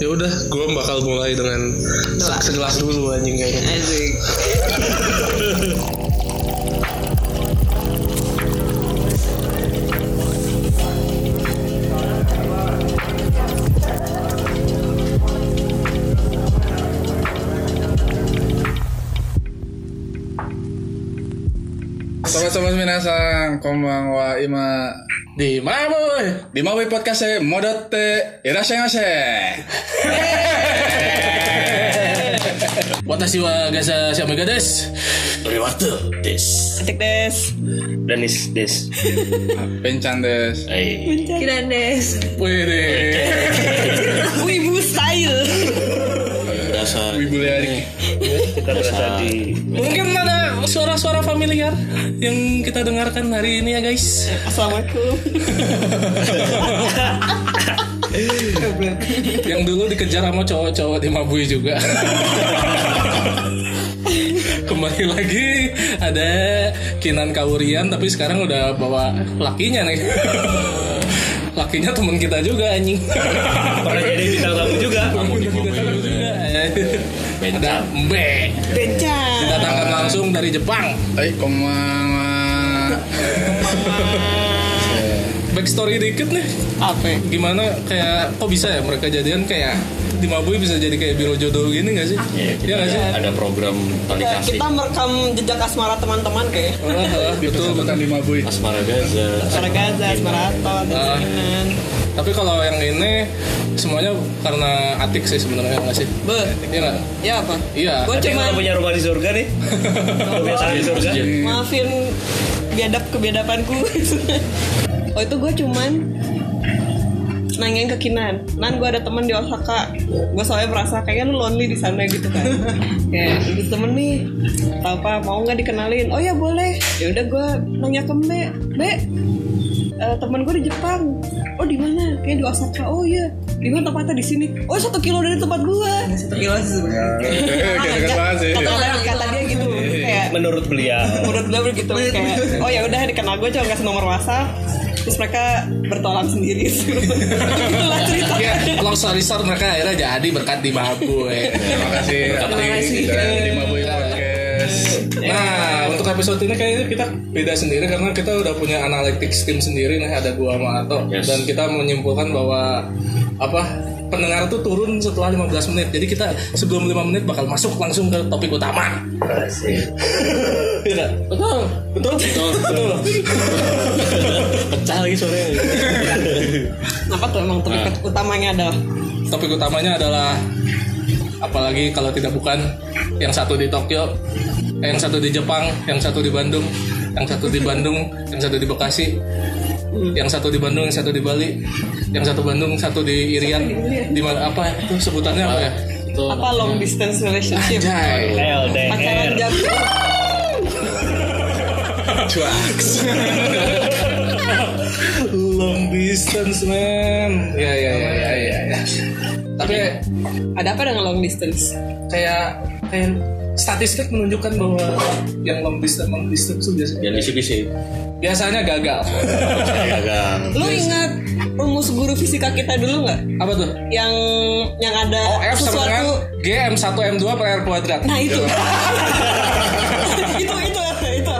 ya udah gue bakal mulai dengan Doa. segelas dulu anjing kayaknya Asik. Sobat-sobat minasang, konbanwa ima di mana boy? Di mana boy podcast saya modote irashaimase. Watashi wa gasa shamega desu. Riwato desu. Cek des. Danis desu. Pencandes. Hai. Kirandes. Wih deh. Wibu style. Berasa Wibu Leari. kita berasa di mungkin Kan ada suara-suara familiar yang kita dengarkan hari ini ya guys Assalamualaikum. yang dulu dikejar sama cowok-cowok di Mabui juga kembali lagi ada Kinan Kaurian tapi sekarang udah bawa lakinya nih lakinya teman kita juga anjing pernah jadi bintang tamu juga. ada Mbe Bencang. datangkan langsung dari Jepang Eh, konbanwa. backstory dikit nih Apa? ya? gimana kayak kok bisa ya mereka jadian kayak di Mabui bisa jadi kayak biro jodoh gini gak sih? Ya, Iya kita gak sih? ada program tali Ya, kasih kita merekam jejak asmara teman-teman kayak. Oh, oh, Di betul persatuan lima boy. Asmara Gaza. Asmara Gaza, Asmara Aton, dan sebagainya. Tapi kalau yang ini semuanya karena atik sih sebenarnya nggak sih? Be, Iya nggak? ya apa? Iya. Gue cuma Kita punya rumah di surga nih. Punya tanah di surga. maafin biadab kebiadabanku. oh itu gue cuman nanyain ke Kinan. Nan gue ada temen di Osaka. Gue soalnya merasa kayaknya lu lonely di sana gitu kan. Kayak itu temen nih. Tau apa mau nggak dikenalin? Oh ya boleh. Ya udah gue nanya ke Mbe. Mbe, eh, temen gue di Jepang. Oh di mana? Kayak di Osaka. Oh iya. Di mana tempatnya di sini? Oh satu kilo dari tempat gue. Satu kilo sih. Keren banget sih. Kata dia gitu. Kayak Menurut beliau. menurut gue begitu kayak oh ya udah dikenal gue cuma kasih nomor whatsapp terus mereka bertolak sendiri itulah cerita Iya. Long story short mereka akhirnya jadi berkat di Mabui. Terima kasih. Terima kasih. Dan lima boy podcast. Nah, untuk episode ini kayaknya kita beda sendiri karena kita udah punya analytics tim sendiri nih ada gua sama Ato Yes. dan kita menyimpulkan bahwa apa pendengar tuh turun setelah 15 menit. Jadi kita sebelum 5 menit bakal masuk langsung ke topik utama. Iya nggak? Betul. Betul. Betul. Betul. Pecah lagi suaranya. kenapa tuh emang topik Nah. utamanya adalah Topik utamanya adalah apalagi kalau tidak bukan yang satu di Tokyo, eh, yang satu di Jepang, yang satu di Bandung, yang satu di Bandung, yang satu di Bekasi, yang satu di Bandung, yang satu di Bali, yang satu Bandung, satu di Irian, di mana apa itu sebutannya apa ya? apa long distance relationship Jai. pacaran LDR. jauh Long distance man. Ya ya ya ya ya. ya. Tapi ada apa dengan long distance kayak kayak statistik menunjukkan bahwa yang long distance long distance tuh biasanya Jangan bisik-bisik. biasanya gagal Gagal. lu ingat rumus guru fisika kita dulu nggak apa tuh yang yang ada Oh, F sama Iya. dengan sesuatu G M1 M2 per R kuadrat nah itu itu itu itu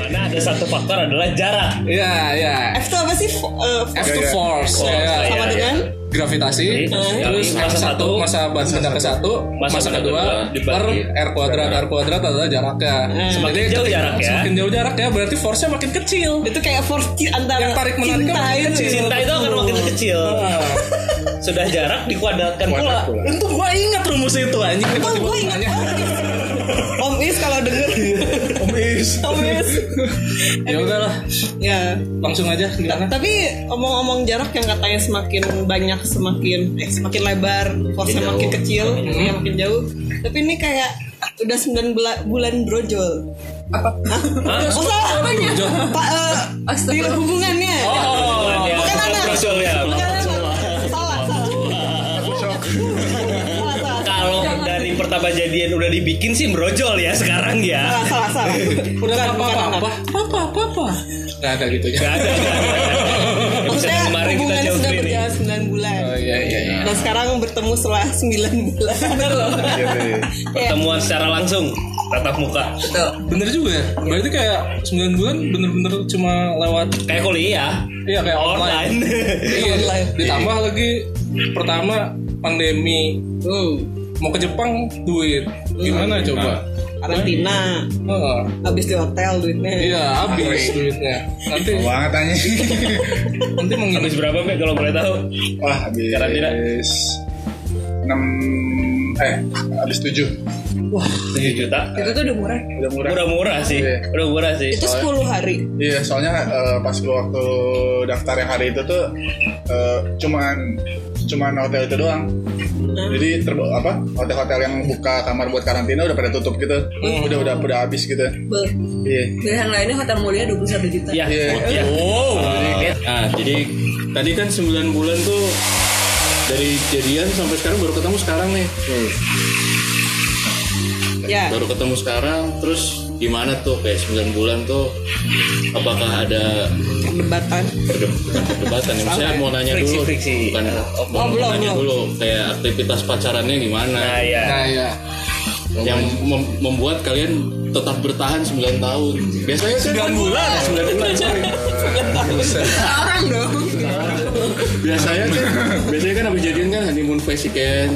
Karena ada satu faktor adalah jarak. ya ya F itu apa sih Fo- eh, F to ya. force ya, ya. Force, sama Iya, dengan gravitasi Gravitasi. terus Masa masa satu, satu masa ban benda ke satu masa masa benda kedua kedua per dibagi. R kuadrat R kuadrat adalah jaraknya Hmm. Semakin jauh ketika- jaraknya. semakin jauh ya. jaraknya berarti force nya makin kecil itu kayak force ci- antara Yang tarik menarik cinta kan itu kecil. Cinta itu akan makin kecil. Sudah jarak dikuadratkan pula. untuk gua ingat rumus itu anjing Oh, gue ingat Tanya. Om Is. Om Is kalau denger Om Is. Om Is ya udahlah ya langsung aja gimana tapi omong-omong jarak yang katanya semakin banyak semakin eh semakin lebar force Makin makin jauh. kecil ya makin jauh tapi ini kayak udah 9 bela- bulan brojol apa? Oh, salah apanya? Pak, eh, di hubungannya Oh, ya. bukan anak Brojol ya. bukan anak salah salah Kalau dari pertama kenapa jadian udah dibikin sih brojol ya sekarang ya? salah salah salah kan, Udah Bukan, papa, bukan anak. papa, papa, papa. Nggak ada gitu ya. Gak ada. nggak ada. Episode maksudnya kemarin kita hubungan sudah jauh ini. berjalan 9 bulan Oh iya iya. iya. dan sekarang bertemu setelah 9 bulan bener loh Iya. Iya, Pertemuan secara langsung, tatap muka. Bener juga ya. Berarti kayak 9 bulan bener-bener cuma lewat Kayak kuliah iya kayak online. online. Iya, Online. ditambah lagi pertama pandemi. Mau ke Jepang duit. Gimana coba? karantina Iya. Heeh. habis di hotel duitnya Iya, habis duitnya. Nanti banget tanya nanti menginap Habis berapa Mbak kalau boleh tahu? wah habis Karantina. enam eh habis tujuh 7 juta. itu tuh udah murah udah murah Murah-murah sih. Iya. Udah murah sih. itu 10 hari Iya, soalnya eh, pas gua waktu daftar yang hari itu tuh eh, cuman cuman hotel itu doang. Jadi terbe- apa hotel-hotel yang buka kamar buat karantina udah pada tutup gitu. Udah udah udah habis gitu. Be. Iya. Dari yang lainnya hotel mulia 21 juta. Ya. Iya. ya. Iya. Eh, Nah, jadi tadi kan 9 bulan tuh dari jadian sampai sekarang baru ketemu sekarang nih. ya Baru ketemu sekarang terus gimana tuh kayak 9 bulan tuh apakah ada perdebatan perdeb- bukan perdebatan ya? Saya mau nanya Friksi, dulu. friksi. Bukan Oh, mau belum, nanya belum. dulu kayak aktivitas pacarannya gimana Nah, ya. Nah, ya. yang mem- membuat kalian tetap bertahan 9 tahun. Biasanya kan 9 bulan, 9 bulan. sorry. orang dong biasanya kan biasanya kan abis jadian kan honeymoon phase kan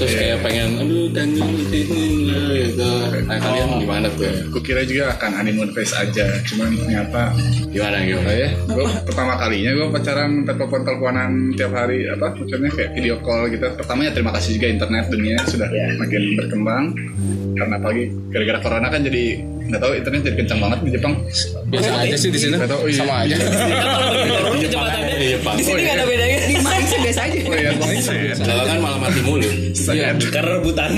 terus kayak pengen aduh kangen ini ini, gitu nah kalian Oh. gimana tuh Kukira juga akan honeymoon phase aja, cuman ternyata gimana gimana apa ya, Iya. gue pertama kalinya gue pacaran telepon teleponan tiap hari apa maksudnya kayak video call gitu. Pertama ya terima kasih juga internet dunia sudah makin berkembang. Karena apalagi gara-gara corona kan jadi nggak tahu internet jadi kencang banget di Jepang. Biasa aja sih di sini. Nggak tahu, iya. Sama aja. Turun kecepatannya. di Jepang di sini nggak ada bedanya di Malaysia biasa aja Oh iya, Bang Iset. Kalau kan malah mati mulu Iya. Karena rebutan.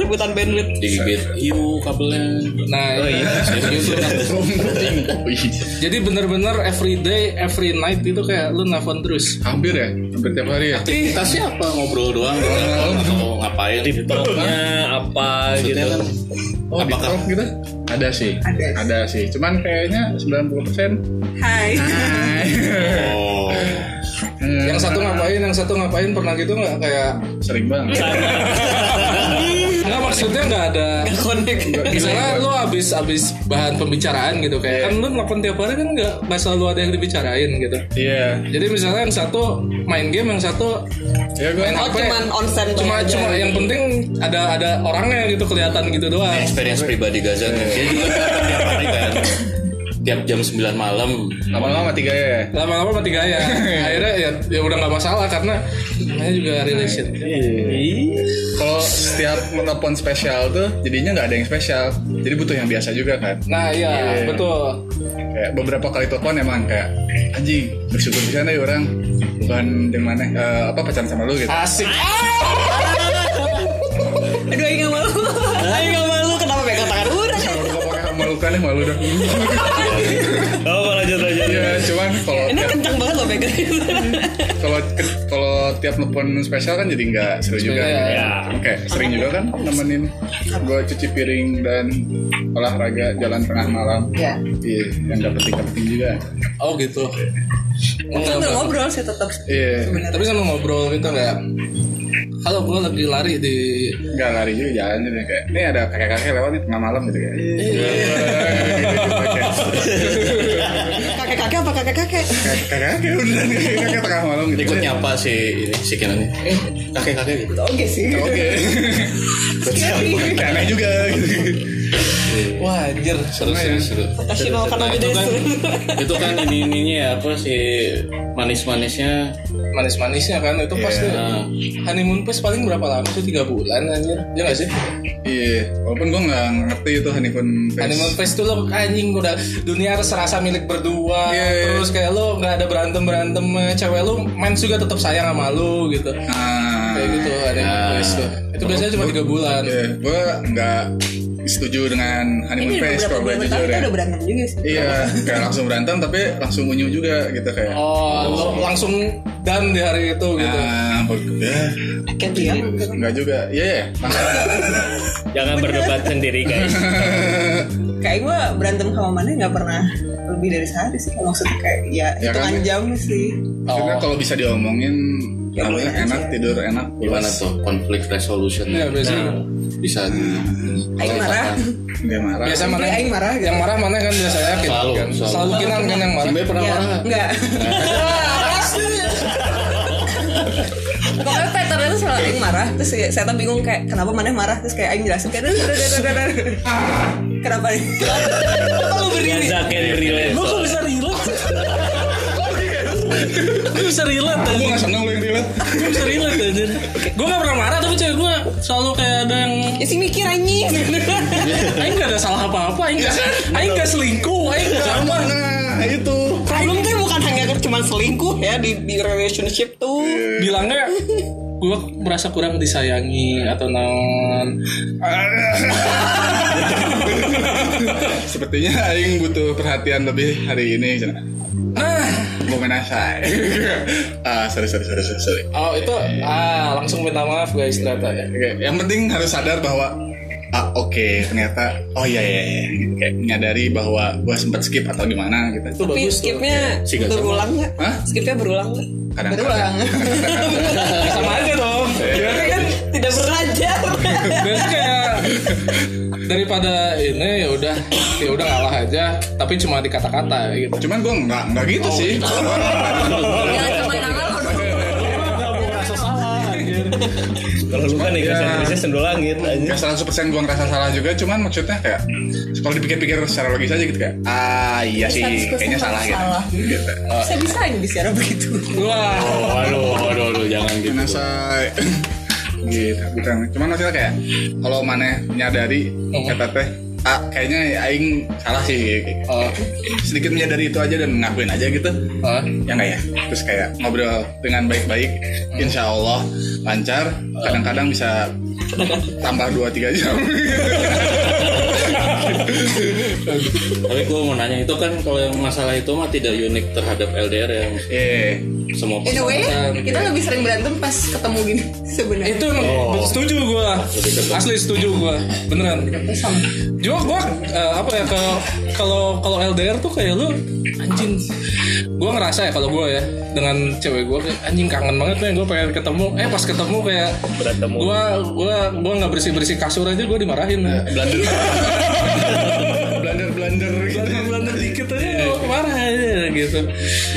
rebutan bandwidth digigit iu kabelnya Nah, iya. Gitu. Oh, iya. Jadi bener-bener every day, every night itu kayak lu nelfon terus. Hampir ya, hampir tiap hari ya. kita siapa ngobrol doang doang, atau ngapain Tiketnya apa maksudnya gitu. kan Oh, di apakah drop gitu? Ada sih. Ada. sih. Cuman kayaknya 90%. hai Hai. oh Yang satu ngapain, yang satu ngapain pernah gitu nggak kayak sering banget. nggak maksudnya nggak Iya. ada connect misalnya lu abis abis bahan pembicaraan gitu kayak kan lu nelfon tiap hari kan nggak nggak selalu ada yang dibicarain gitu Iya. jadi misalnya yang satu main game yang satu Ya gua main oh HP cuman onsen cuma aja. cuma yang penting ada ada orangnya gitu kelihatan gitu doang experience pribadi Gaza kan dia juga datang tiap hari kan tiap jam 9 malam lama-lama tiga ya. lama-lama mati gaya akhirnya ya, ya udah nggak masalah karena namanya juga gitu. relation Kalau setiap menelpon spesial tuh jadinya nggak ada yang spesial. Jadi butuh yang biasa juga kan. nah iya betul Kayak beberapa kali telepon emang kayak anjing bersyukur di sana ya orang bukan yang mana eh, apa pacaran sama lu gitu. asik aduh ayo nggak malu ayo nggak malu kenapa pegang tangan udah Kalau gua pakai sama lu kan ya malu dah. Oh, lanjut lanjut. Iya, cuman kalau ini tiap- kencang banget loh pegang kalau kalau tiap telepon spesial kan jadi nggak seru juga Iya. ya. kayak sering juga kan nemenin gue cuci piring dan olahraga jalan tengah malam ya iya yang nggak penting penting juga oh gitu Itu nggak ngobrol sih tetap. iya tapi sama ngobrol gitu kayak halo gue lagi lari di nggak lari juga jalan jadi kayak ini ada kakek kakek lewat nih tengah malam gitu kayak kakek kakek apa kakek kakek kakek kakek udah nih kakek tengah malam gitu ikut nyapa si ini si Kenan eh kakek kakek gitu oke sih oke Kayak aneh juga gitu. wah anjir ya. seru seru seru Tashi no kanabi itu kan desu itu kan ini ininya ya apa sih manis manisnya manis-manisnya kan itu pasti eh, honeymoon pas paling berapa lama sih tiga bulan anjir ya nggak sih iya walaupun gue nggak ngerti itu honeymoon phase. honeymoon phase tuh lo anjing udah dunia serasa milik berdua Iya, iya. terus kayak lo nggak ada berantem berantem cewek lo mens juga tetap sayang sama lo gitu Ah. kayak gitu honeymoon phase tuh itu biasanya cuma tiga bulan gue nggak setuju dengan honeymoon Ini udah phase kalau berapa gue bulan jujur ya. bertahun kita udah berantem juga sih. Iya, kayak langsung berantem tapi langsung unyu juga gitu kayak. Oh, lo langsung dan di hari itu gitu. Nah, ya, Kayak dia. enggak juga. Iya, iya. Langsung. Jangan berdebat sendiri guys. Kayak gue berantem sama mana nggak pernah lebih dari sehari sih. Maksudnya kayak ya, Ya kan? hitungan jam sih. Maksudnya kalau bisa diomongin, namanya boleh enak aja. tidur enak. Gimana pulas. tuh konflik resolution Iya, biasanya. Nah. bisa di Ayo marah. Dia marah. Biasa mana? Aing marah gitu. Yang marah mana kan biasanya Kin? Selalu, kan? selalu. selalu kinan kan yang marah. Sampai pernah Ya, marah nggak? enggak. Pokoknya patternnya tuh selalu Aing marah Terus ya, saya tuh bingung kayak Kenapa mana marah Terus kayak Aing jelasin kayak "Duh, duh, duh, duh, duh, duh." Kenapa nih Kalau Yang berdiri Zaken relate. Lo kok bisa relate Gue bisa relate Gue anjing. nggak seneng lu yang dilihat. Gue bisa relate anjir. Gue gak pernah marah tapi cewek gue selalu kayak ada yang Ya sih mikir anjing. Aing gak ada salah apa-apa Aing gak, Aing gak selingkuh Aing gak apa Nah, itu. Problem kan bukan hanya cuma selingkuh ya di, di relationship tuh. Iya, Bilangnya gue merasa kurang disayangi atau non Sepertinya Aing butuh perhatian lebih hari ini. Cina. Ah. Nah Gue main asai. ah, sorry, sorry, sorry, sorry, sorry. Oh itu ah langsung minta maaf guys ternyata ya Oke, yang penting harus sadar bahwa ah oke ternyata oh iya iya iya gitu. kayak menyadari bahwa gua sempat skip atau gimana Itu gitu. Tapi bagus tuh. skipnya sih, nggak sama. berulang nggak? Hah? Skipnya berulang nggak? Kadang-kadang. Sama aja dong Iya. Berarti kan Tidak belajar. Berarti kayak daripada ini ya udah ya udah ngalah aja tapi cuma di kata-kata gitu. Cuman gua nggak nggak gitu sih. Jangan sampai nangal Kalau lu kan ya Ya. Indonesia sendul langit anjir. Gak Hmm. 100% gua ngerasa salah juga, cuman maksudnya kayak kalau dipikir-pikir secara logis aja gitu kayak ah iya sih 100% kayaknya salah gitu. salah. gitu. Bisa-bisa aja bicara begitu Wah. Oh, waduh, waduh, waduh, jangan gitu. Menasai. gitu bukan cuman maksudnya kayak kalau mana menyadari Hmm. kata teh ah kayaknya aing salah sih kayak- Oh, sedikit menyadari itu aja dan ngakuin aja gitu oh. ya nggak ya terus kayak ngobrol dengan baik-baik Hmm. insya Allah lancar Oh. kadang-kadang bisa tambah 2-3 jam Tapi gue mau nanya, itu kan kalau yang masalah itu mah tidak unik terhadap LDR ya. eh Semua In a way Kita lebih sering berantem pas ketemu gini Sebenarnya Itu setuju gue Asli setuju gue Beneran Juga gue Apa ya Kalau Kalau kalau LDR tuh kayak lu Anjing Gue ngerasa ya kalau gue ya Dengan cewek gue Anjing kangen banget nih Gue pengen ketemu Eh pas ketemu kayak Bertemu. Gue Gue Gue gak bersih-bersih kasur aja Gue dimarahin ya. blender blender blender gitu Belander dikit aja Marah aja gitu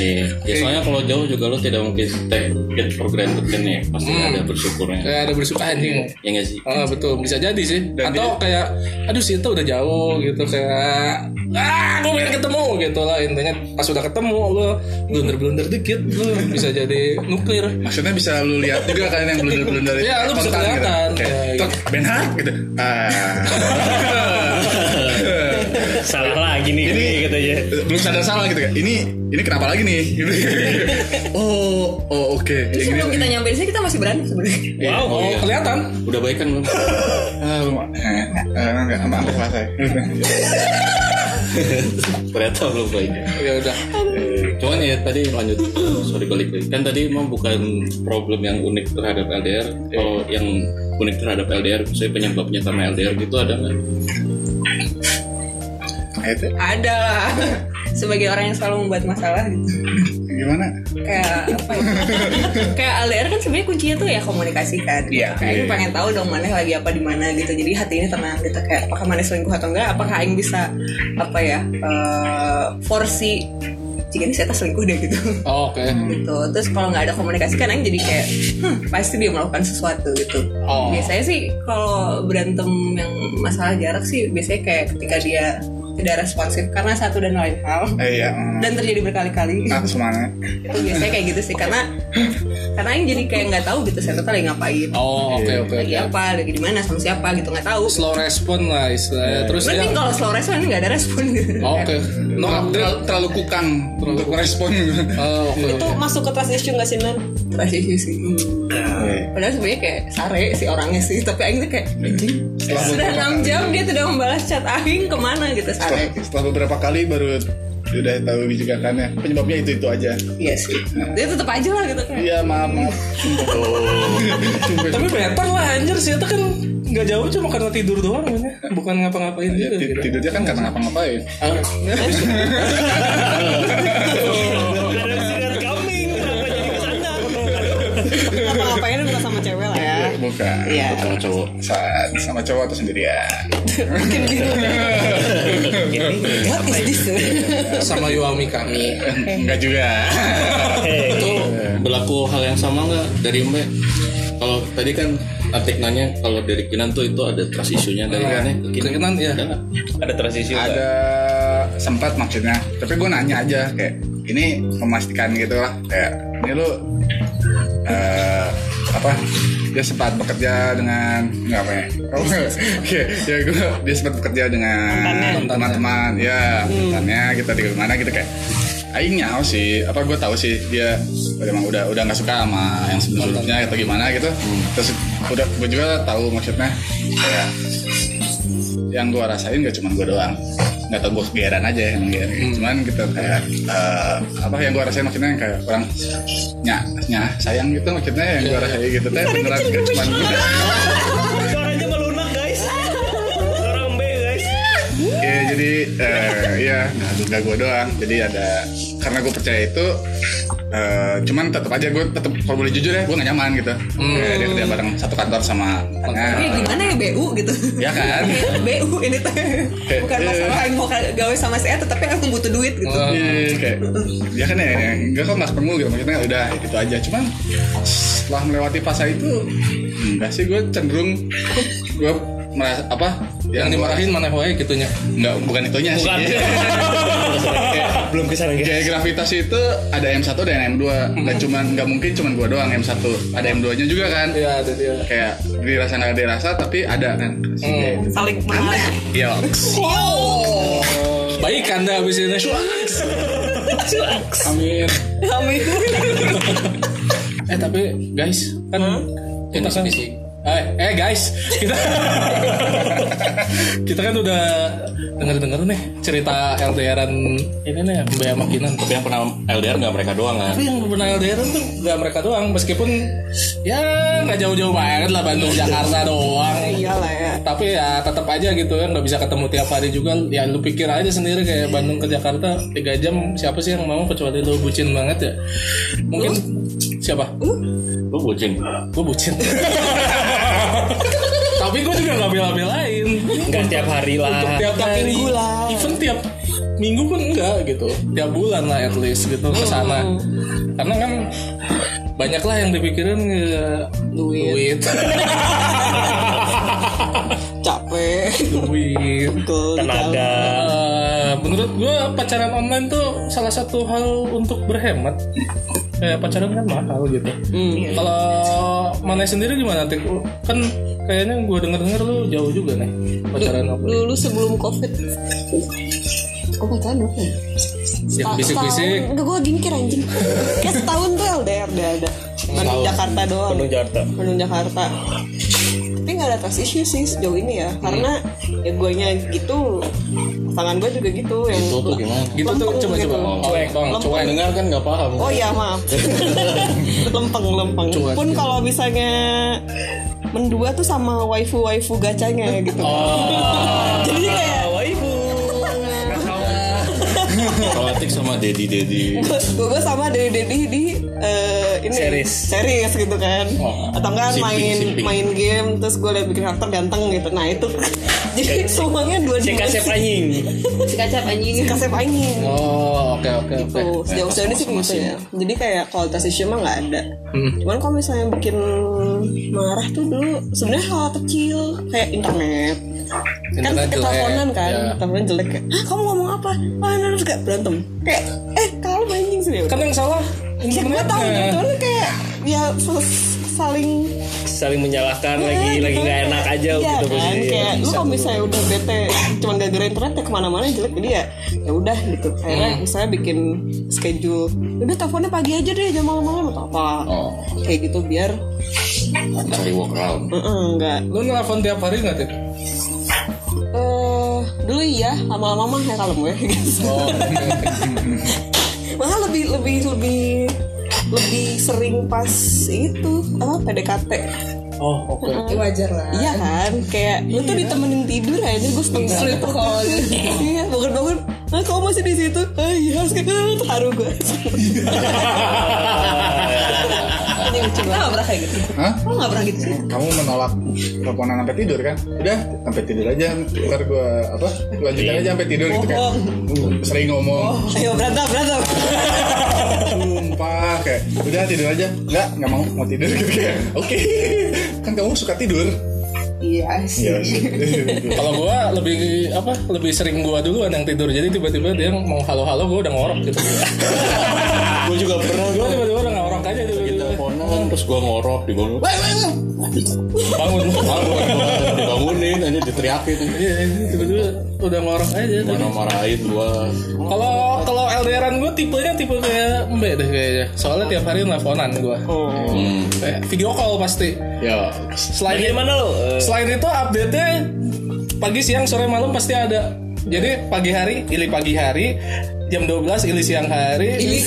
Iya. Ya, soalnya kalau jauh juga lo tidak mungkin take it for granted kan ya. Pasti Hmm. ada bersyukurnya. Kayak ada bersuka anjing Ya nggak sih? Ah, betul bisa jadi sih Dan atau kayak aduh si itu udah jauh gitu kayak ah gue pengen ketemu gitu lah intinya pas udah ketemu lo blunder blunder dikit lo bisa jadi nuklir maksudnya bisa lu lihat juga kan yang blender blender Iya, lu bisa kelihatan. Iya, gitu. benar gitu ah Salah lagi nih Ini- gini gitu aja. belum sadar salah gitu kan ini ini kenapa lagi nih gitu. oh oh oke Jadi Yang sebelum gini. kita nyampe di sini kita masih berantem sebenarnya Wow. oh, iya. kelihatan Udah baik kan belum? Ah, lu mah- eh, eh, enggak, sama sampai selesai. Ternyata belum baik. ya udah Cuman ya tadi lanjut sorry balik lagi. Kan tadi emang bukan problem yang unik terhadap LDR. Kalau yang unik terhadap LDR, saya penyebabnya karena LDR gitu ada nggak? Nah, itu Ada lah Sebagai orang yang selalu membuat masalah gitu gimana? kayak apa ya? kayak LDR kan sebenarnya kuncinya tuh ya komunikasi kan Iya. kayak Aing pengen tahu dong mana lagi apa di mana gitu jadi hati ini tenang gitu kayak apakah mana selingkuh atau enggak apakah Aing bisa apa ya eh forsi jika ini saya tak selingkuh deh gitu oh, oke gitu terus kalau nggak ada komunikasi kan Aing jadi kayak hmm, pasti dia melakukan sesuatu gitu Oh. biasanya sih kalau berantem yang masalah jarak sih biasanya kayak ketika dia tidak responsif karena satu dan lain hal Eh, iya. hmm. dan terjadi berkali-kali Nah, semuanya. itu biasanya kayak gitu sih karena karena yang jadi kayak nggak tahu gitu saya tuh lagi ngapain Oh oke oke lagi oke. apa lagi di mana sama siapa gitu nggak tahu Slow respon lah istilahnya. Terus dia. mending kalau slow respon nggak ada respon gitu Oh, Oke. No Terlalu, update. terlalu- terlalu kukang untuk merespon. Oh, oke. Itu masuk ke trust issue nggak sih Nan? Trust issue sih Hmm. iya. Padahal sebenarnya kayak sare si orangnya sih Tapi Aing tuh kayak anjing Setelah Sudah beberapa 6 kali. jam dia tidak membalas chat Aing kemana gitu Setelah, sare setelah beberapa kali baru udah tahu bijakannya. Penyebabnya itu itu aja. Iya sih Dia tetep aja lah gitu kayak Iya maaf maaf. Sumpah. Tapi better lah anjir sih itu kan nggak jauh cuma karena tidur doang kan ya. Bukan ngapa-ngapain Ya, juga. ti- gitu. tidurnya kan karena ngapa-ngapain. Ah, Ada sinar kambing, kenapa jadi kesana? Apa ngapain bukan sama cewek lah ya? Bukan. Iya. sama cowok Sa- sama cowok atau sendirian. What is this? sama kan. Yuami kami. Enggak juga. Hei, itu berlaku hal yang sama nggak dari Mbak? Kalau tadi kan Atik nanya kalau dari Kinan tuh itu ada trust issue-nya dari Iya. Kinan ke Ke Kinan, iya. Ada nggak? ada transisi nggak? Ada sempat maksudnya. Tapi gue nanya aja kayak ini memastikan gitu lah kayak ini lu eh, apa dia sempat bekerja dengan nggak apa ya Oh, Oke, ya gue dia sempat bekerja dengan teman-teman ya temannya kita di mana gitu kayak Aing nyaho sih, apa gue tahu sih dia memang udah udah nggak suka sama yang sebelumnya atau gimana gitu. Terus udah gue juga tahu maksudnya kayak yang gue rasain gak cuma gue doang nggak tau gue kegeran aja yang kegeran. cuman gitu kayak eh, apa yang gue rasain maksudnya yang kayak orang nyak nyak sayang gitu maksudnya yang gue rasain gitu teh beneran gak cuma gue Suaranya melunak guys. Suara embe guys. ya jadi eh, ya nggak gue doang jadi ada karena gue percaya itu eh, cuman tetap aja gue tetap kalau boleh jujur ya gue gak nyaman gitu Kayak dia kerja bareng satu kantor sama Nah. Ini anak gimana ya BU gitu ya kan BU ini tuh Bukan masalah Aing mau gawe sama si Eta Tapi Aing butuh duit gitu Iya, kayak ya kan ya, ya enggak kok nggak perlu gitu maksudnya udah gitu aja cuman setelah melewati fase itu enggak sih gue cenderung gue merasa apa Yang gua- dimarahin mana wae gitunya. enggak bukan itunya Bukan. sih Kayak Belum kesana guys. Gaya gravitasi itu ada M1 dan M2 Gak cuman, gak mungkin cuman gue doang M1 Ada M2 nya juga kan Iya, ada dia. Kayak dirasa gak dirasa tapi ada kan Hmm. Saling menarik. Iya Baik Anda habis ini. Amin. Amin. Eh tapi guys, kan kita kan Eh, eh guys, kita kita kan udah dengar-dengar nih cerita LDRan ini nih Mbak sama Kinan. tapi yang pernah LDR nggak mereka doang kan Tapi yang pernah LDRan tuh gak mereka doang, meskipun ya nggak jauh-jauh banget lah Bandung Jakarta doang. Iyalah ya. tapi ya tetap aja gitu kan nggak bisa ketemu tiap hari juga ya lu pikir aja sendiri Iya. kayak Bandung ke Jakarta tiga jam siapa sih yang mau kecuali lu bucin banget ya mungkin siapa lu bucin gue bucin tapi gue juga nggak bela-belain Enggak tiap hari lah. Untuk tiap tiap hari, minggu lah. even tiap minggu pun enggak gitu tiap bulan lah at least gitu ke sana karena kan banyak lah yang dipikirin ya, duit Capek. duit Betul. Tenaga. Eh, menurut gue pacaran online tuh salah satu hal untuk berhemat. Kayak pacaran kan mahal gitu. Kalau mana sendiri gimana Tik? Lu Kan kayaknya gue denger-denger lu jauh juga nih pacaran online. Dulu sebelum covid. Kok pacaran berapa ya? Ya, bisik-bisik. Enggak gue lagi mikir anjing Kayak setahun tuh LDR udah ada Bandung Jakarta doang Penuh Jakarta. Bandung Jakarta Tapi gak ada trust issue sih sejauh ini ya Karena ya guanya gitu Pasangan gue juga gitu yang itu tuh gimana Gitu tuh Lempeng coba gitu. coba. Cuek, Bang, cuek. dengar kan nggak paham Oh iya maaf Lempeng lempeng Cuek. Pun kalau misalnya Mendua tuh sama waifu-waifu gacanya gitu Oh. Jadi kayak Waifu. kalau Atik sama Dedi Dedi gue sama Dedi Dedi di eh, ini Series. series gitu kan Oh, atau enggak shipping, main shipping. main game terus gue liat bikin karakter ganteng gitu nah itu jadi semuanya dua Si kasep anjing. si kacap anjing kasep anjing Oh, oke oke oke. tuh sejauh sejauh ini sih gitu ya jadi kayak kualitas issue mah nggak ada Hmm. cuman kalau misalnya bikin marah tuh dulu sebenarnya hal kecil kayak internet kan Internet jelek, keteleponan kan ya. teleponan jelek kayak ah kamu ngomong apa ah nah, terus kayak berantem kayak eh kalau anjing sih Kan yang salah ya gue tau gitu internetnya. cuman kayak ya s- saling Saling menyalahkan Ya, lagi lagi gitu. nggak enak aja Iya gitu kan posisinya. kayak lu kalau misalnya udah bete cuman gara-gara internet ya kemana-mana jelek jadi ya ya udah gitu akhirnya Hmm. misalnya bikin schedule "Ya udah teleponnya pagi aja deh jam malam-malam atau apa Oh, iya. kayak gitu biar cari workaround. "Mm-mm, nggak Lu nelfon tiap hari nggak Tit? eh dulu iya lama-lama mah ya kalau gue gitu. Oh, malah lebih lebih lebih lebih sering pas itu apa PDKT oh oke. Ya, wajar lah iya kan kayak lu tuh ditemenin tidur aja gue setengah sleep call iya bangun bangun ah kamu masih di situ ah iya harus kayak "Ah, terharu gue ini lucu banget nggak pernah kayak gitu Hah? Eh, lo nggak pernah gitu sih Kamu menolak teleponan sampai tidur kan? Udah, sampai tidur aja. Ntar gue apa? Lanjutin aja sampai tidur gitu kan. Sering ngomong, ayo berantem berantem sumpah kayak udah tidur aja. Enggak, nggak mau mau tidur gitu kayak. Oke. Kan kamu suka tidur. iya sih Iya. sih. Kalau gua lebih apa? Lebih sering gua duluan yang tidur. Jadi tiba-tiba dia mau halo-halo gua udah ngorok gitu. gue juga pernah gua tiba-tiba udah ngorok aja gitu. tiba-tiba. teleponan kan. terus gue ngorok dibangun "Wah, Bangun. bangun, bangun." dibangunin aja diteriakin Iya, tiba-tiba udah ngorok aja. mana marahin gue Kalau kalau LDRan gue tipenya tipe kayak Mbe deh kayaknya. Soalnya tiap hari nelfonan gue. Oh. hmm. Kayak video call pasti. Iya. Ya, Selain Dari mana lo? Eh, selain itu update-nya pagi siang sore malam pasti ada. Jadi pagi hari ili pagi hari jam 12 ili siang hari ili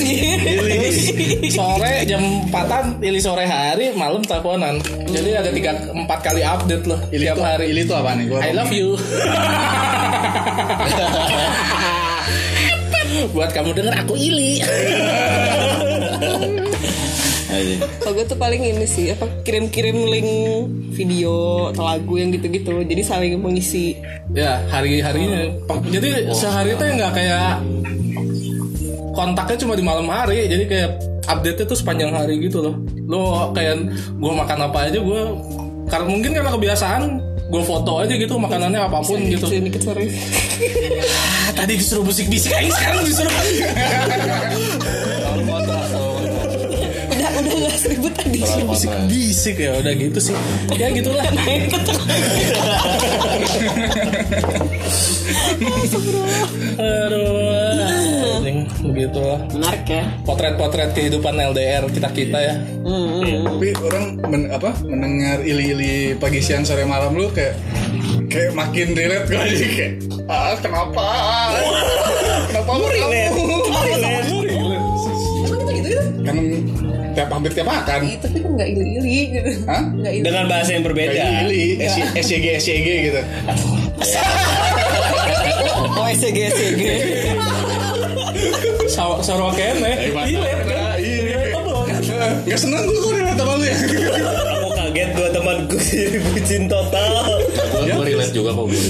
sore jam 4-an ili sore hari malam teleponan. Jadi ada tiga empat kali update loh Ili tiap itu, hari. Ili itu apa nih? Gua I love you. Buat kamu denger aku ili. aja. kalau gue tuh paling ini sih apa kirim-kirim link video atau lagu yang gitu-gitu jadi saling mengisi Ya hari-harinya. Jadi sehari tuh nggak kayak kontaknya cuma di malam hari. Jadi kayak update-nya tuh sepanjang hari gitu loh. Lo kayak gue makan apa aja gue karena mungkin karena kebiasaan gue foto aja gitu makanannya apapun gitu. dikit-dikit sorry Ah, tadi disuruh bisik-bisik aja sekarang disuruh udah udah nggak seribut tadi bisik ya udah gitu sih. Ya gitulah. Nah, Aduh, anjing. begitu lah. menarik ya Potret-potret kehidupan LDR kita kita ya. tapi orang men- apa mendengar ili-ili pagi siang sore malam lu kayak kayak makin relate gue jadi kayak ah kenapa kenapa lu relate emang kita gitu gitu kan tiap hampir tiap makan Iya, tapi kok nggak ili ili gitu Iya. Hah? Iya. nggak ili dengan bahasa yang kayak berbeda. ili SYG SYG gitu oh SCG SCG Saw eh. sarwa kene. nggak seneng gue kok relate sama lu ya Aku kaget dua temanku jadi bucin total. gue relate juga kok gue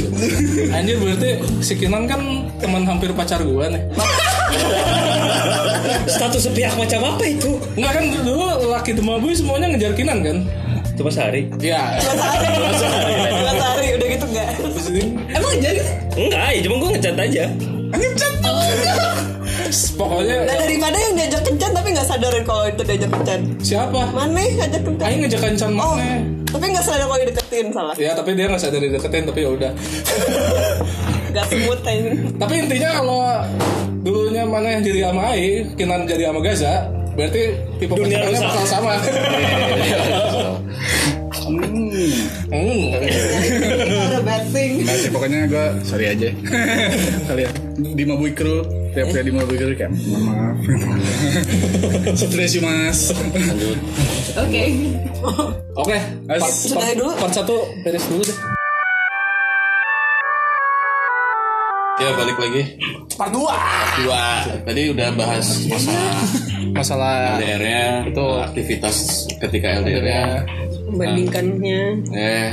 Anjir berarti si Kinan kan teman hampir pacar gua nih. Status sepihak macam apa itu? Enggak kan dulu laki Demabui semuanya ngejar Kinan kan? Cuma sehari. Ya. Iya. dua hari udah gitu nggak emang jadi Enggak, ya cuma gue ngecat aja. Pokoknya nah daripada yang diajak kencan tapi nggak sadarin kalau itu diajak kencan siapa? mana yang ngajak kencan Aing ngejak kencan oh mana? tapi nggak sadar kalau dideketin salah Iya. Ya tapi dia nggak sadar dideketin tapi ya udah. nggak semut aja Tapi intinya kalau dulunya mana yang jadi sama Ai, Kinan jadi sama Gaza, berarti tipe Dunia pacarannya rusak. bakal sama. Hmm. ada bating nggak sih pokoknya gue sorry aja kalian di Mabui Crew tiap kayak di Mabui Crew kayak mohon maaf stres sih mas lanjut oke Oke, As- part- Sudahi part- dulu. Part satu beres dulu deh. ya balik lagi Ya, Part dua. dua tadi udah bahas masalah masalah LDR-nya, Betul. aktivitas ketika LDR-nya. LDR-nya. Bandingkannya Eh,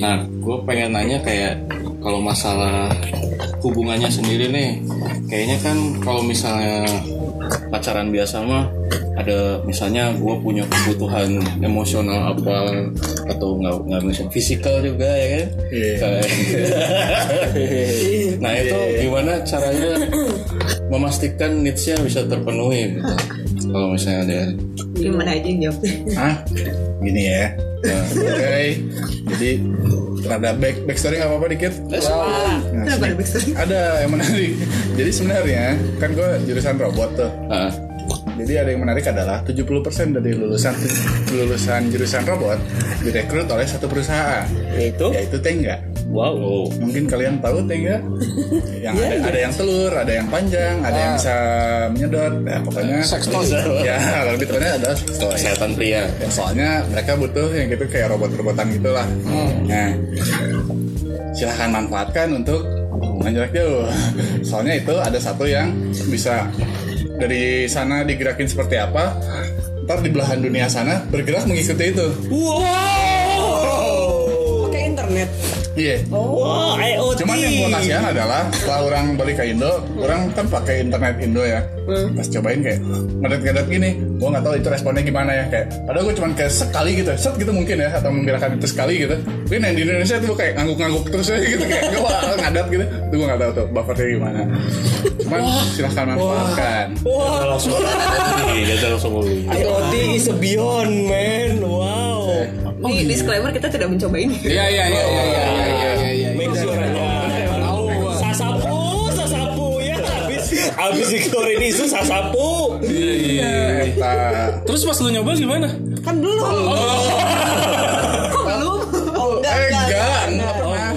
nah, gue pengen nanya kayak kalau masalah hubungannya sendiri nih, kayaknya kan kalau misalnya pacaran biasa mah ada misalnya gue punya kebutuhan emosional apa atau nggak nggak misalnya fisikal juga ya kan? Iya. Kayak- nah itu gimana caranya memastikan needs-nya bisa terpenuhi gitu? Kalau misalnya ada gimana aja yang jawabnya Hah? Gini ya. Nah, Oke. Jadi rada back backstory nggak apa-apa dikit. Nah, kenapa ada backstory ada yang menarik. Jadi sebenarnya kan gue jurusan robot tuh. Ah, Jadi ada yang menarik adalah 70% dari lulusan lulusan jurusan robot direkrut oleh satu perusahaan Oh. Itu yaitu Tengga. wow. Mungkin kalian tahu Tengga? Yang ada, ada yang telur, ada yang panjang, ada yang bisa menyedot. Ya, pokoknya Sex toy. ya lebih tepatnya adalah sex toy. kesehatan pria. Ya, soalnya mereka butuh yang gitu kayak robot-robotan gitulah. Nah, silahkan manfaatkan untuk hubungan jarak jauh. Soalnya itu ada satu yang bisa dari sana digerakin seperti apa, ntar di belahan dunia sana bergerak mengikuti itu. pakai internet Iya. Wow, IoT. Cuman yang gua kasihan adalah setelah orang balik ke Indo, orang kan pakai internet Indo ya. Pas cobain kayak ngedet-ngedet gini, gua nggak tahu itu responnya gimana ya kayak. Padahal gua cuman kayak sekali gitu, set gitu mungkin ya atau menggerakkan itu sekali gitu. Tapi yang di Indonesia tuh kayak ngangguk-ngangguk terus aja gitu kayak gua ngadat gitu. Tuh gua nggak tahu tuh buffernya gimana. Cuman silahkan manfaatkan. Wah, langsung iya dia langsung ngomong. IoT is a beyond, man. Wow. Ini disclaimer kita tidak mencoba ini Iya iya iya iya iya iya iya, iya. Make sure aja. Sasapu, sasapu ya. Habis habis dikeluarin isu sasapu. Iya, iya, iya. Eta. Terus pas lu nyoba gimana? kan belum Eh enggak, enggak pernah.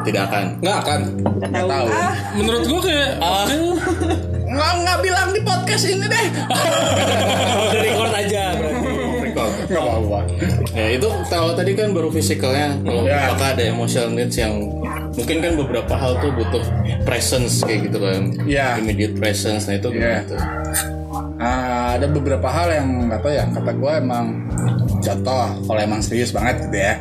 Tidak akan. Nggak kan. akan. Enggak tahu. Menurut gua kayak Enggak enggak bilang di podcast ini deh. Udah record aja berarti. Enggak apa-apa. Ya itu kalau tadi kan baru fisikalnya. Kalau Ya. apakah ada emotional needs yang mungkin kan beberapa hal tuh butuh presence kayak gitu kan. Ya. Immediate presence. Nah itu gimana Ya. tuh? Ah, ada beberapa hal yang apa ya kata gue emang contoh kalau emang serius banget gitu ya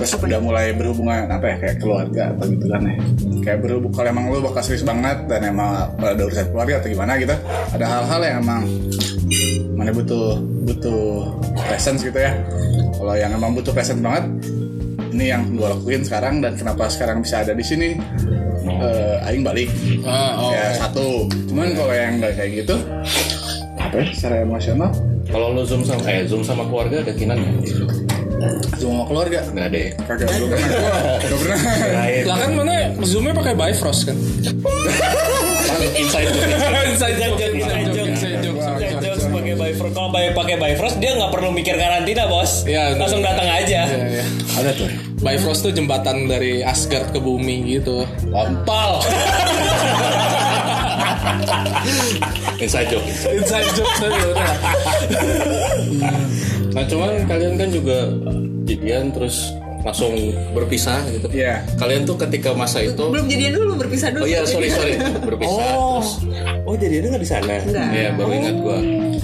terus udah mulai berhubungan apa ya kayak keluarga atau gitu kan ya kayak berhubung kalau emang lu bakal serius banget dan emang ada urusan keluarga atau gimana gitu ada hal-hal yang emang mana butuh butuh presence gitu ya kalau yang emang butuh presence banget ini yang gue lakuin sekarang dan kenapa sekarang bisa ada di sini Eh, aing balik Ah, oh. ya satu cuman kalau yang nggak kayak gitu apa ya, secara emosional Kalau lo zoom sama eh zoom sama keluarga ada kinan nggak? cuma sama keluarga Nggak ada. ya? kagak belum pernah gak pernah Lain. Lah kan mana zoomnya pakai Bifrost kan? Inside joke. Inside joke, inside joke, inside joke, Jangan sorry, sorry, jauh sorry. sebagai Bifrost. Kalau bay- pakai Bifrost dia nggak perlu mikir karantina bos. Iya, benar. Langsung datang aja. Iya, iya. ada tuh Bifrost tuh jembatan dari Asgard ke bumi gitu. kontol Inside joke. Inside joke sorry, udah. Nah cuman kalian kan juga jadian terus langsung berpisah gitu. Iya. Kalian tuh ketika masa itu belum jadian dulu berpisah dulu Oh iya, sorry sorry berpisah terus Oh jadi nggak di sana. Iya baru ingat gua.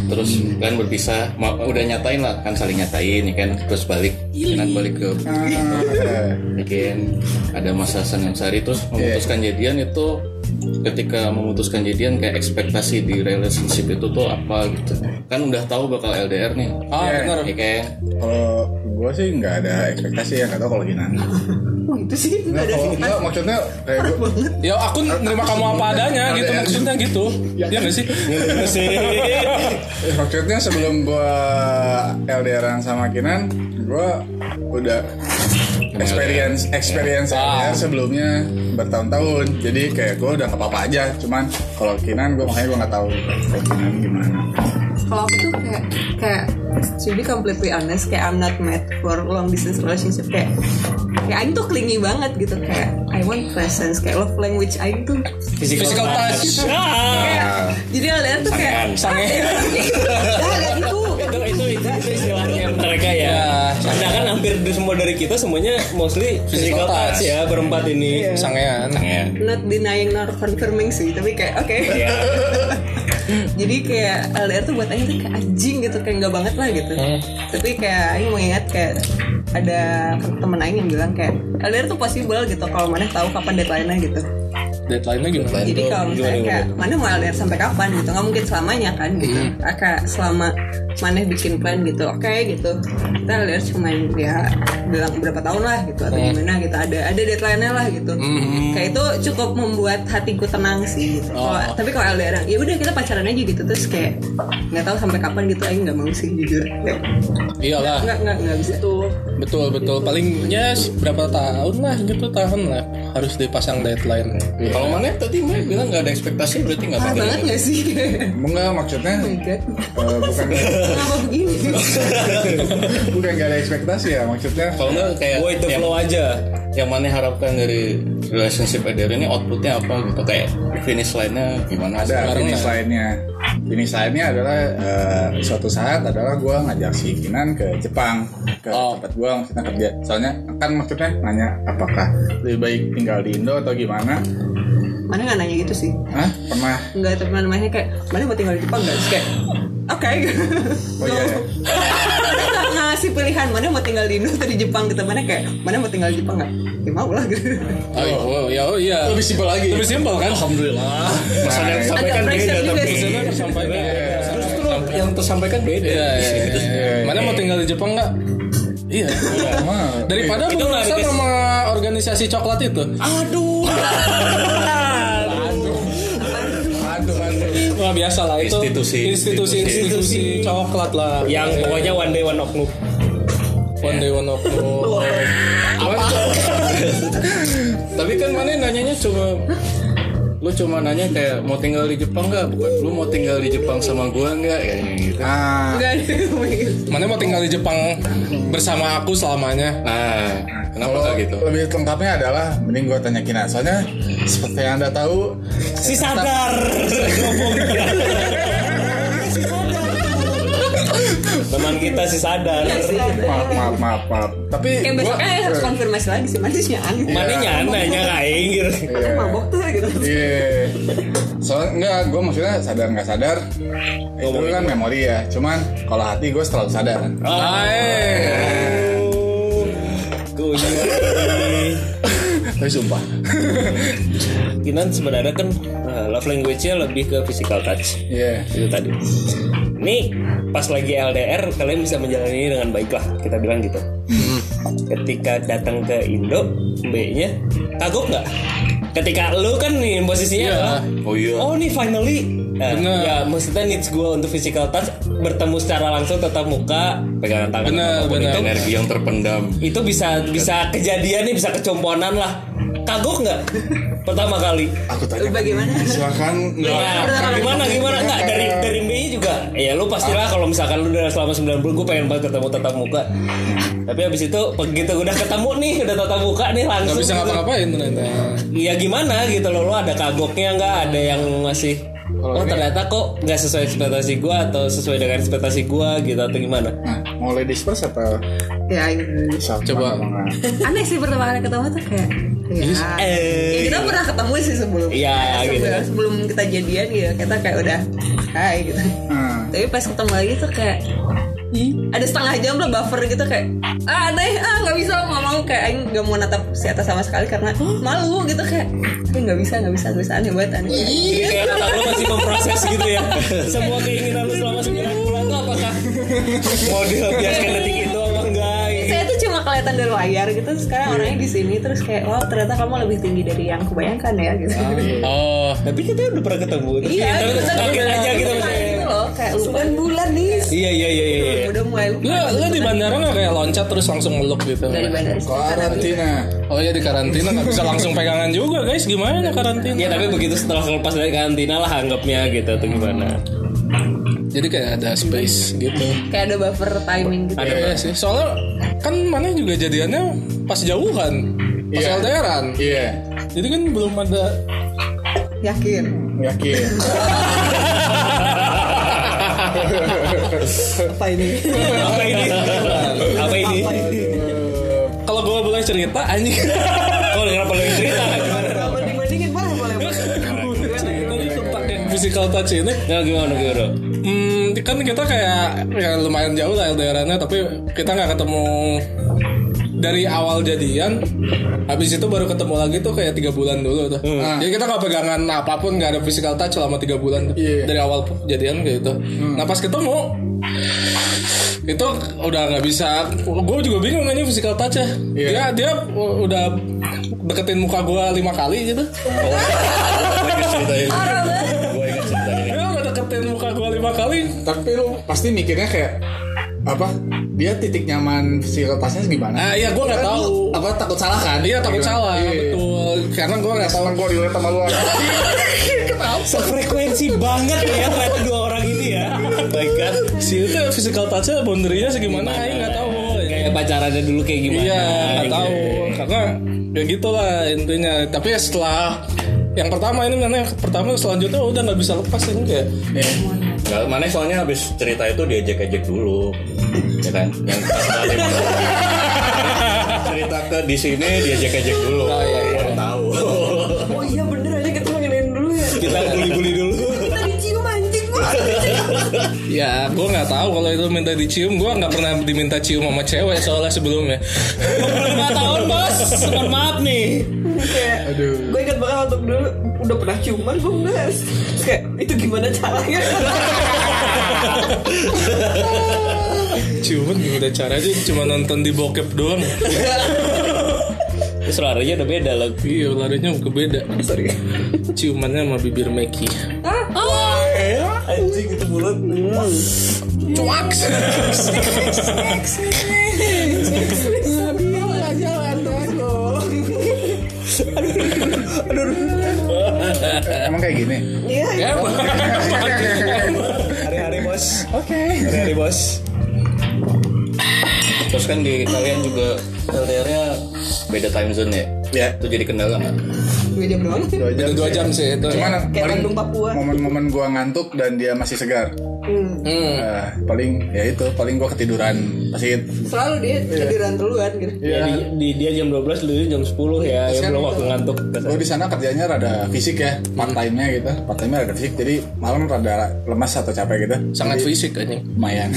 Terus kan berpisah, ma- udah nyatain lah kan saling nyatain ya kan terus balik, kan balik ke Iya. bikin ada masa senang sari terus Iya. memutuskan jadian itu ketika memutuskan jadian kayak ekspektasi di relationship itu tuh apa gitu kan udah tahu bakal LDR nih Ah, Iya. benar. ya kayak kalau gue sih nggak ada ekspektasi ya nggak tau kalau gimana oh, itu sih nggak kalau nggak maksudnya kayak gua- Ya aku nerima kamu apa adanya gitu LDR. maksudnya gitu. Ya nggak sih? Sih. eh, maksudnya sebelum gue LDRan sama Kinan gue udah experience experience LDR sebelumnya bertahun-tahun jadi kayak gue udah nggak apa-apa aja cuman kalau Kinan gue makanya gue nggak tahu kalau Kinan gimana kalau aku tuh kayak kayak to be completely honest kayak I'm not made for long distance relationship kayak kayak Aing tuh clingy banget gitu kayak I want presence kayak love language Aing tuh Physical touch. Ah. kayak jadi LDR tuh kayak Sange. dah ada itu gitu. Iya. itu itu itu, itu istilahnya mereka ya. Ya, Anda kan hampir di- semua dari kita semuanya mostly physical touch ya berempat ini. Iya. sangean Ya. not denying nor confirming sih tapi kayak oke jadi kayak LDR tuh buat Aing tuh kayak anjing gitu kayak nggak banget lah gitu tapi kayak Aing mau ingat kayak ada temen Aing yang bilang kayak LDR tuh possible gitu kalau mana tahu kapan deadline-nya gitu deadline-nya gimana Iya. jadi kalau misalnya kayak mana mau LDR sampai kapan gitu nggak mungkin selamanya kan gitu kayak selama mana bikin plan gitu oke gitu kita LDR cuma ya bilang berapa tahun lah gitu atau Iya. gimana gitu ada ada deadline-nya lah gitu Mm-hmm. kayak itu cukup membuat hatiku tenang sih gitu Oh. Kalau- tapi kalau LDR ya udah kita pacaran aja gitu terus kayak nggak tahu sampai kapan gitu aja nggak mau sih jujur Kayak, iyalah nggak nggak nggak bisa Gitu. tuh betul betul paling ya berapa tahun lah gitu tahun lah harus dipasang deadline ya, Kalau mana tadi mana bilang nggak ada ekspektasi berarti nggak parah bakal. banget nggak sih Enggak maksudnya oh my god eh, bukan kenapa begini bukan gak ada ekspektasi ya maksudnya Kalau nggak kayak Boy the Iya. yang, flow aja. yang mana harapkan dari relationship LDR ini outputnya apa gitu kayak finish line-nya gimana? ada Sekarang finish ya. lah. lainnya finish lainnya adalah eh, suatu saat adalah gue ngajak si Kinan ke Jepang ke Oh. tempat gue maksudnya kerja soalnya kan maksudnya nanya apakah lebih baik tinggal di Indo atau gimana mana nggak nanya gitu sih Hah? pernah Enggak, teman-temannya kayak, mana mau tinggal di Jepang nggak? Terus kayak, oke. oh iya ya Kita nggak ngasih pilihan, mana mau tinggal di Indo atau di Jepang gitu. Mana kayak, mana mau tinggal di Jepang nggak? Ya mau lah gitu. oh, iya, oh, iya, oh, iya. lebih simpel lagi lebih simpel kan alhamdulillah Nah, Pesan yang Agak kan disampaikan pressure beda juga tapi sih. tersampaikan Justru yang tersampaikan beda. iya, iya, iya, iya. mana mau tinggal di Jepang nggak iya Emang. daripada Itu itu menarik, guys. sama organisasi coklat itu Aduh. Wah biasa lah itu Institusi. institusi institusi coklat lah Eh, yang pokoknya one day one oknum. one day one of Tapi kan mana nanyanya cuma lu cuma nanya kayak mau tinggal di Jepang nggak? Bukan lu mau tinggal di Jepang sama gua nggak? Kayak gitu. ah Enggak, mana mau tinggal di Jepang bersama aku selamanya Nah, kenapa nggak gitu? lebih lengkapnya adalah mending gue tanya Kinan soalnya seperti yang anda tahu Si sadar. Si sadar. Teman kita si sadar. maaf maaf maaf maaf tapi kayak Iya. gua- besoknya kan ya, harus konfirmasi lagi sih, Ya, mana sih nyaan? Mana Iya. nyananya kain gitu. Mana mabok tuh gitu. Iya. Soalnya enggak, gue maksudnya sadar nggak sadar. Oh, Itu kan memori ya. Cuman kalau hati gue selalu sadar. Iya. Tapi sumpah. Kinan sebenarnya kan eh, love language-nya lebih ke physical touch Iya. itu tadi. Ini pas lagi LDR kalian bisa menjalani ini dengan baik lah kita bilang gitu. Ketika datang ke Indo, B-nya kagok nggak? Ketika lu kan nih posisinya adalah, Oh iya. oh nih finally. Nah, Bener. ya maksudnya needs gue untuk physical touch bertemu secara langsung tatap muka pegangan tangan Bener, apapun bener. itu Energi yang terpendam. itu bisa bisa kejadian nih bisa kecomponan lah kagok nggak pertama kali Aku tanya. Bagaimana? Silakan. Nah, gimana gimana enggak dari dari MBI juga ya lu pastilah kalau misalkan lu udah selama 90 gue pengen banget ketemu tatap muka tapi habis itu begitu udah ketemu nih udah tatap muka nih nggak langsung bisa gitu. ngapa-ngapain ternyata ya gimana gitu loh lu ada kagoknya nggak ada yang masih oh ternyata kok nggak sesuai ekspektasi gue atau sesuai dengan ekspektasi gue gitu atau gimana Nah, mau ladies first atau Ya, ini. Coba. aneh sih pertama kali ketemu tuh kayak. Ya. Ya, eh kita pernah ketemu sih sebelum Iya, gitu. sebelum, sebelum kita jadian gitu kita kayak udah hai gitu Hmm. tapi pas ketemu lagi tuh kayak "Ih, ada setengah jam lah buffer gitu kayak ah aneh ah nggak bisa nggak mau kayak Aing nggak mau natap si atas sama sekali karena malu gitu kayak tapi nggak bisa nggak bisa nggak bisa aneh banget aneh Jadi kayak kata lu masih memproses gitu ya Semua keinginan lu selama 9 bulan tuh apakah Mau dilampiaskan detik itu apa enggak gitu. saya tuh cuma kelihatan dari layar gitu Iya. sekarang orangnya di sini terus kayak wow ternyata kamu lebih tinggi dari yang kubayangkan ya gitu oh Tapi kita udah pernah ketemu iya tapi kita kaget aja gitu kayak maksudnya. gitu Oh. loh kayak lupa bulan nih Iya iya iya iya iya. udah mulai lupa Lu, lu di bandara nggak kayak loncat terus langsung meluk gitu? dari bandar Karantina. Oh iya di karantina nggak bisa langsung pegangan juga guys gimana karantina? Ya tapi begitu setelah lepas dari karantina lah anggapnya gitu atau gimana Jadi kayak ada space gitu. kayak ada buffer timing gitu Ada iya sih. Soalnya kan mana juga jadiannya pas jauhan, pas Iya. LDRan. Iya. Jadi kan belum ada yakin Yakin. apa ini Apa ini? Apa ini? deh pak anjing Kok kenapa lu yang cerita? Dibandingin boleh boleh. Iya, itu itu pakai physical touch ini Nah gimana gimana? Hmm, kan kita kayak ya lumayan jauh lah LDR-nya tapi kita nggak ketemu dari awal jadian habis itu baru ketemu lagi tuh kayak tiga bulan dulu tuh Hmm. Nah, jadi kita nggak pegangan apapun nggak ada physical touch selama tiga bulan tuh. Iya. Hmm. dari awal jadian kayak gitu nah pas ketemu itu udah nggak bisa gue juga bingung aja physical touch ya Iya. dia dia udah deketin muka gue lima kali gitu Gue ingat ceritanya. Gue ingat ceritanya. dia udah deketin muka gue lima kali Tapi lu pasti mikirnya kayak apa? Dia titik nyaman si tasnya gimana? ah iya gue nggak Kan tahu lu apa takut salah kan? Iya takut Gimana? salah Iya. betul karena gue nggak tahu Sekarang gue relate sama lu. Sefrekuensi banget ya ternyata dua orang ini ya. Baik kan? si itu physical touch-nya boundary-nya segimana aja nggak tahu Kayak pacarannya dulu kayak gimana? iya nggak tahu karena ya gitulah intinya tapi ya setelah yang pertama ini mana yang pertama selanjutnya udah nggak bisa lepas ini kayak Nggak, mana soalnya habis cerita itu diejek-ejek dulu. Ya kan? Yang kita kenal di mana. cerita ke di sini diejek-ejek dulu. Oh, iya, iya. tahu. Oh iya bener aja kita panggilin dulu ya. kita bully-bully dulu. Kita dicium anjing gua. ya gue nggak tahu kalau itu minta dicium gue nggak pernah diminta cium sama cewek soalnya sebelumnya 25 tahun bos, mohon maaf nih. Kayak gue ingat banget waktu dulu udah pernah ciuman gue enggak. Terus Kayak itu gimana caranya? ciuman gimana caranya cuma nonton di bokep doang Terus larinya udah beda lah. iya larinya ke beda Sorry. ciumannya sama bibir Meki Anjing itu bulat. Emang kayak gini. Iya. iya. Hari-hari bos. Oke. Hari-hari bos. Terus kan di kalian juga LDR-nya beda time zone ya? Iya. Itu jadi kendala nggak? Dua jam doang. Dua jam, Udah dua jam sih itu Cuman Kayak paling Bandung, Papua. momen-momen gua ngantuk dan dia masih segar. Hmm. Nah, paling ya itu paling gua ketiduran pasti Selalu dia ketiduran duluan gitu. Ya, di, di, dia jam 12, lu jam 10 ya. Ya belum waktu ngantuk. Gue di sana kerjanya rada fisik ya, part time-nya gitu, part time-nya rada fisik, jadi malam rada lemas atau capek gitu. sangat fisik aja lumayan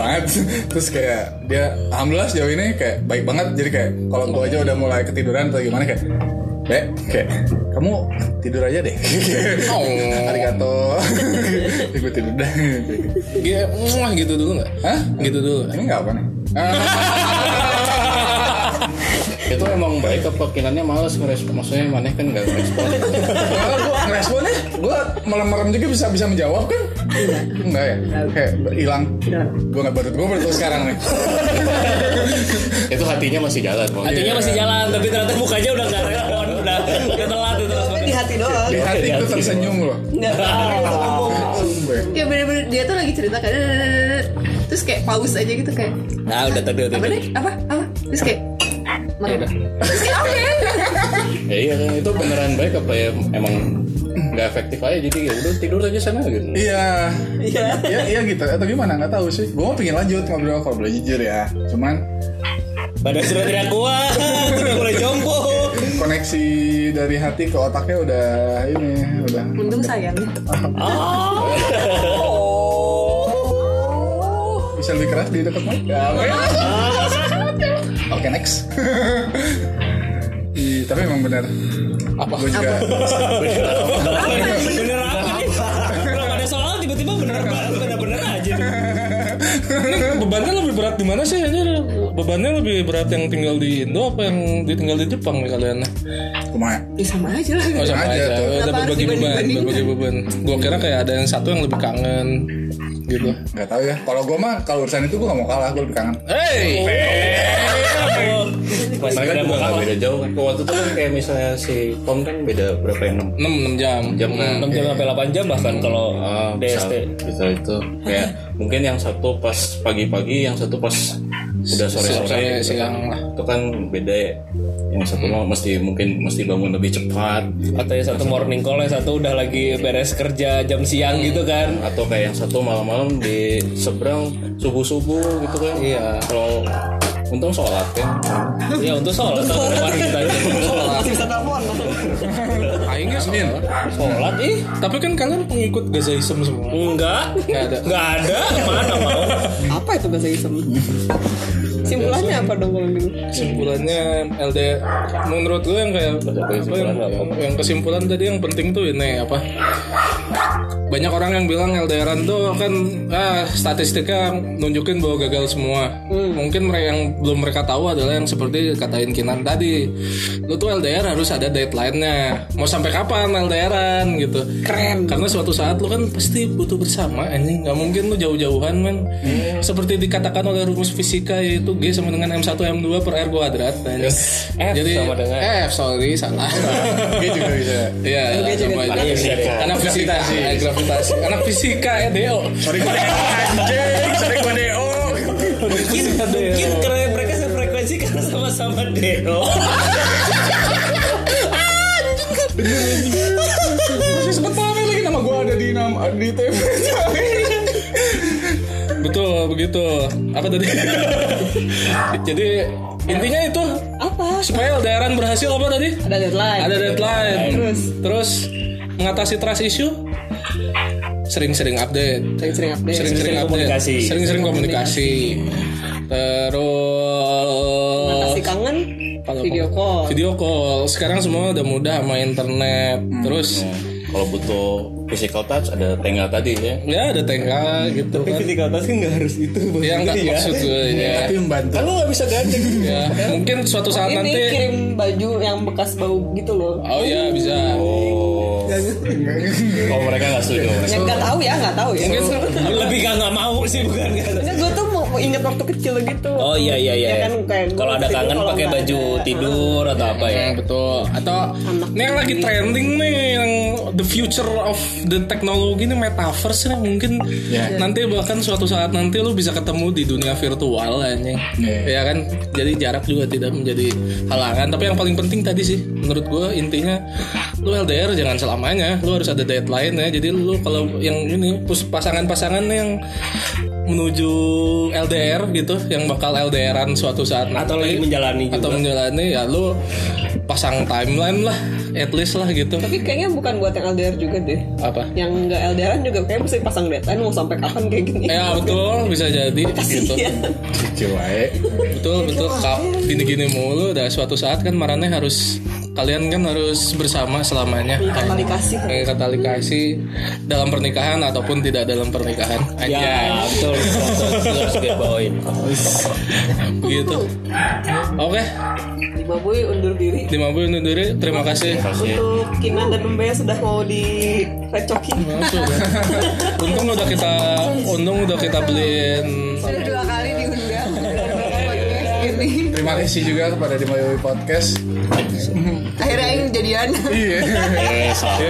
banget terus kayak dia alhamdulillah sejauh ini kayak baik banget jadi kayak kalau gue aja udah mulai ketiduran atau gimana kayak Be, kayak kamu tidur aja deh. Oh. Arigato. Ibu tidur gitu. dah. Dia muah gitu dulu nggak? Hah? Gitu dulu. Ini nggak apa nih? Itu emang baik apa kinannya males ngerespon? Maksudnya maneh kan nggak ngerespon. Kalau gue ngeresponnya, gue merem-merem juga bisa bisa menjawab kan? Enggak ya? Kayak hilang. Gue nggak berut, gue berut sekarang nih. itu hatinya masih jalan. Bang. Hatinya masih jalan, tapi ternyata mukanya udah nggak respon, udah udah telat gitu. itu. Tapi di hati doang. Di hati itu tersenyum loh. Iya. Enggak tahu. Sumpah. Kayak bener-bener dia tuh lagi cerita kayak "Dadadadadadad." terus kayak pause aja gitu kayak Nah, udah tadi udah. Ya apa tadi. nih apa apa terus kayak merem. Terus kayak oke. Ya iya kan itu beneran baik apa ya emang nggak efektif aja jadi ya udah tidur aja sana gitu. Iya. Iya. ya iya gitu atau gimana nggak tahu sih gue mau pengen lanjut ngobrol kalau boleh jujur ya cuman Badan sudah tidak kuat, tidak boleh jompo. koneksi dari hati ke otaknya udah ini udah Untung sayang. bisa lebih keras di dekat mic Ya, oke Oke, next Ih, tapi emang benar apa gue juga Bener apa nih? Belum ada soal tiba-tiba bener bener-bener aja. Ini bebannya lebih berat di mana sih? Ini bebannya lebih berat yang tinggal di Indo apa yang ditinggal di Jepang nih kalian? lumayan Ya sama aja lah. Oh sama Aja aja. tuh. Ada Kenapa berbagi harus beban, dibanding-bandingkan? berbagi beban. Gua kira kayak ada yang satu yang lebih kangen gitu. nggak tahu ya kalau gue mah kalau urusan itu gue nggak mau kalah gue lebih kangen Hey, Oh. Masih Mereka ada juga mau nggak kalah. beda jauh kan. Waktu itu kan kayak misalnya si Tom kan beda berapa yang 6 6 jam. jam kan. 6 jam sampai 8 jam bahkan kalau Ah, bisa, DST. bisa itu kayak mungkin yang satu pas pagi-pagi yang satu pas udah Sore, sore-sore gitu siang kan. lah. itu kan beda ya yang satu mah mesti mungkin mesti bangun lebih cepat Atau yang satu morning call, yang satu udah lagi beres kerja jam siang gitu kan. atau kayak yang satu malam-malam di seberang subuh-subuh gitu kan Iya. kalau untung sholat ya ya untuk sholat kan kemarin kita sholat bisa telepon Aingnya sholat. sholat ih Tapi kan kalian pengikut Gazaism semua. enggak Enggak ada. enggak ada mana mau apa itu bahasa isem simpulannya apa dong kalau gitu Kesimpulannya LD menurut gue yang kayak Ada apa kesimpulan yang, nggak yang- yang kesimpulan tadi yang penting tuh ini apa banyak orang yang bilang LDRan tuh kan ah, statistiknya nunjukin bahwa gagal semua mungkin mereka yang belum mereka tahu adalah yang seperti katain Kinan tadi lu tuh LDR harus ada deadline-nya mau sampai kapan LDRan gitu keren karena suatu saat lu kan pasti butuh bersama anjing nggak mungkin lu jauh-jauhan men seperti dikatakan oleh rumus fisika yaitu G sama dengan M1 M2 per R kuadrat anjing. F jadi sama dengan. F sorry salah Gue juga bisa. Iya, sama aja. fisika. anak fisika, eh, Iya, gravitasi, anak fisika, eh, Deo. Sorry gue anjing, sorry gue DO. mungkin mungkin karena mereka sefrekuensi karena sama-sama deo Masih sempet pamer lagi nama gue ada di nama di TV. Betul, begitu. Apa tadi? Jadi intinya itu apa supaya LDRan berhasil apa tadi? ada deadline Ada deadline. Terus? terus mengatasi trust issue sering-sering update. sering-sering update sering-sering update. komunikasi. sering-sering komunikasi terus mengatasi kangen kalau- video call video call sekarang semua udah mudah sama internet Hmm. terus kalau butuh physical touch ada tengah tadi ya ya ada tengah gitu kan fisika atas kan nggak harus itu ya nggak maksud gue ya Tapi membantu. kan lu nggak bisa gandeng Ya, mungkin suatu saat ini nanti kirim baju yang bekas bau gitu loh oh ya bisa oh kalau mereka nggak setuju Ya nggak tahu ya, nggak tahu ya. lebih gak nggak mau sih bukan nggak Enggak, gue tuh mau, mau inget waktu kecil gitu. Oh iya iya iya. Ya kan, kayak gua kalau ada waktu itu kangen kalau pakai nggak baju ada- tidur atau apa ya? Hmm, betul. Atau ini yang lagi trending nih yang the future of the technology ini metaverse nih mungkin nanti bahkan suatu saat nanti lu bisa ketemu di dunia virtual anjing. Ya kan? Jadi jarak juga tidak menjadi halangan. Tapi yang paling penting tadi sih menurut gue intinya lu LDR jangan selamanya. Lu harus ada deadline ya. Jadi lu kalau yang ini terus pasangan-pasangan yang menuju LDR gitu yang bakal LDRan suatu Iya. saat Atau lagi nanti menjalani juga. atau menjalani ya lu pasang timeline lah at least lah gitu Tapi kayaknya bukan buat yang LDR juga deh. apa Yang nggak LDRan juga kayaknya mesti pasang deadline mau sampai kapan kayak gini. ya betul bisa jadi Eh, gitu Iya. Cewek. betul betul kap gini gini mulu dan suatu saat kan marane harus kalian kan harus bersama selamanya Iya, Kali kasih. kayak kata Likasi, dalam pernikahan ataupun tidak dalam pernikahan Ya, aja betul. betul, betul. Itu harus gue bawain. gitu oke Lima boy undur diri. lima bu undur diri terima kasih Iya. Untuk Kinan dan Mbak sudah mau Iya. direcokin. langsung untung udah kita untung udah kita beliin Sudah dua kali diundang podcast ini. Terima kasih juga kepada di Mayowi Podcast. Akhirnya yang jadian. Eh, salah.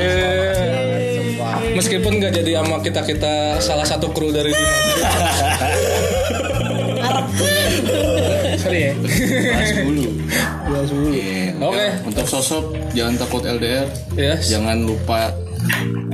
Meskipun nggak jadi sama kita kita salah satu kru dari Dino. Sorry ya. Bahas dulu Oke. Iya. untuk sosok jangan takut LDR Yes. jangan lupa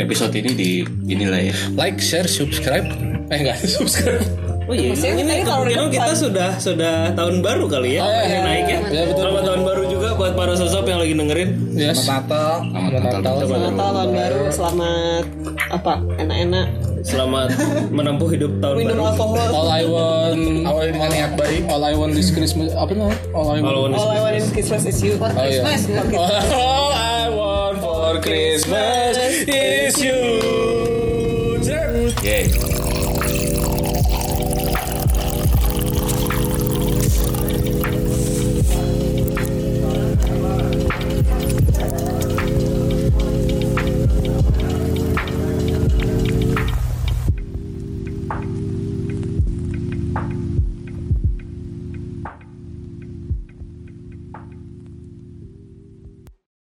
episode ini di inilah ya Like, share, subscribe. Eh enggak subscribe. Oh iya, Maksudnya ini kita ini tahun kemungkinan depan. kita sudah sudah tahun baru kali ya, Oh, iya, Ini iya, naik ya. iya, betul. Selamat tahun baru juga buat para sosok yang lagi dengerin. Yes. Natal. selamat Natal Selamat Natal tahun baru, selamat apa enak-enak Selamat menempuh hidup tahun minum baru. alkohol. All I want Awalnya dengan niat baik. All I want this Christmas apa namanya? All I want. Kalau All I want in Christmas is you. Oh, iya. Christmas. All I want for Christmas is you. Yeay.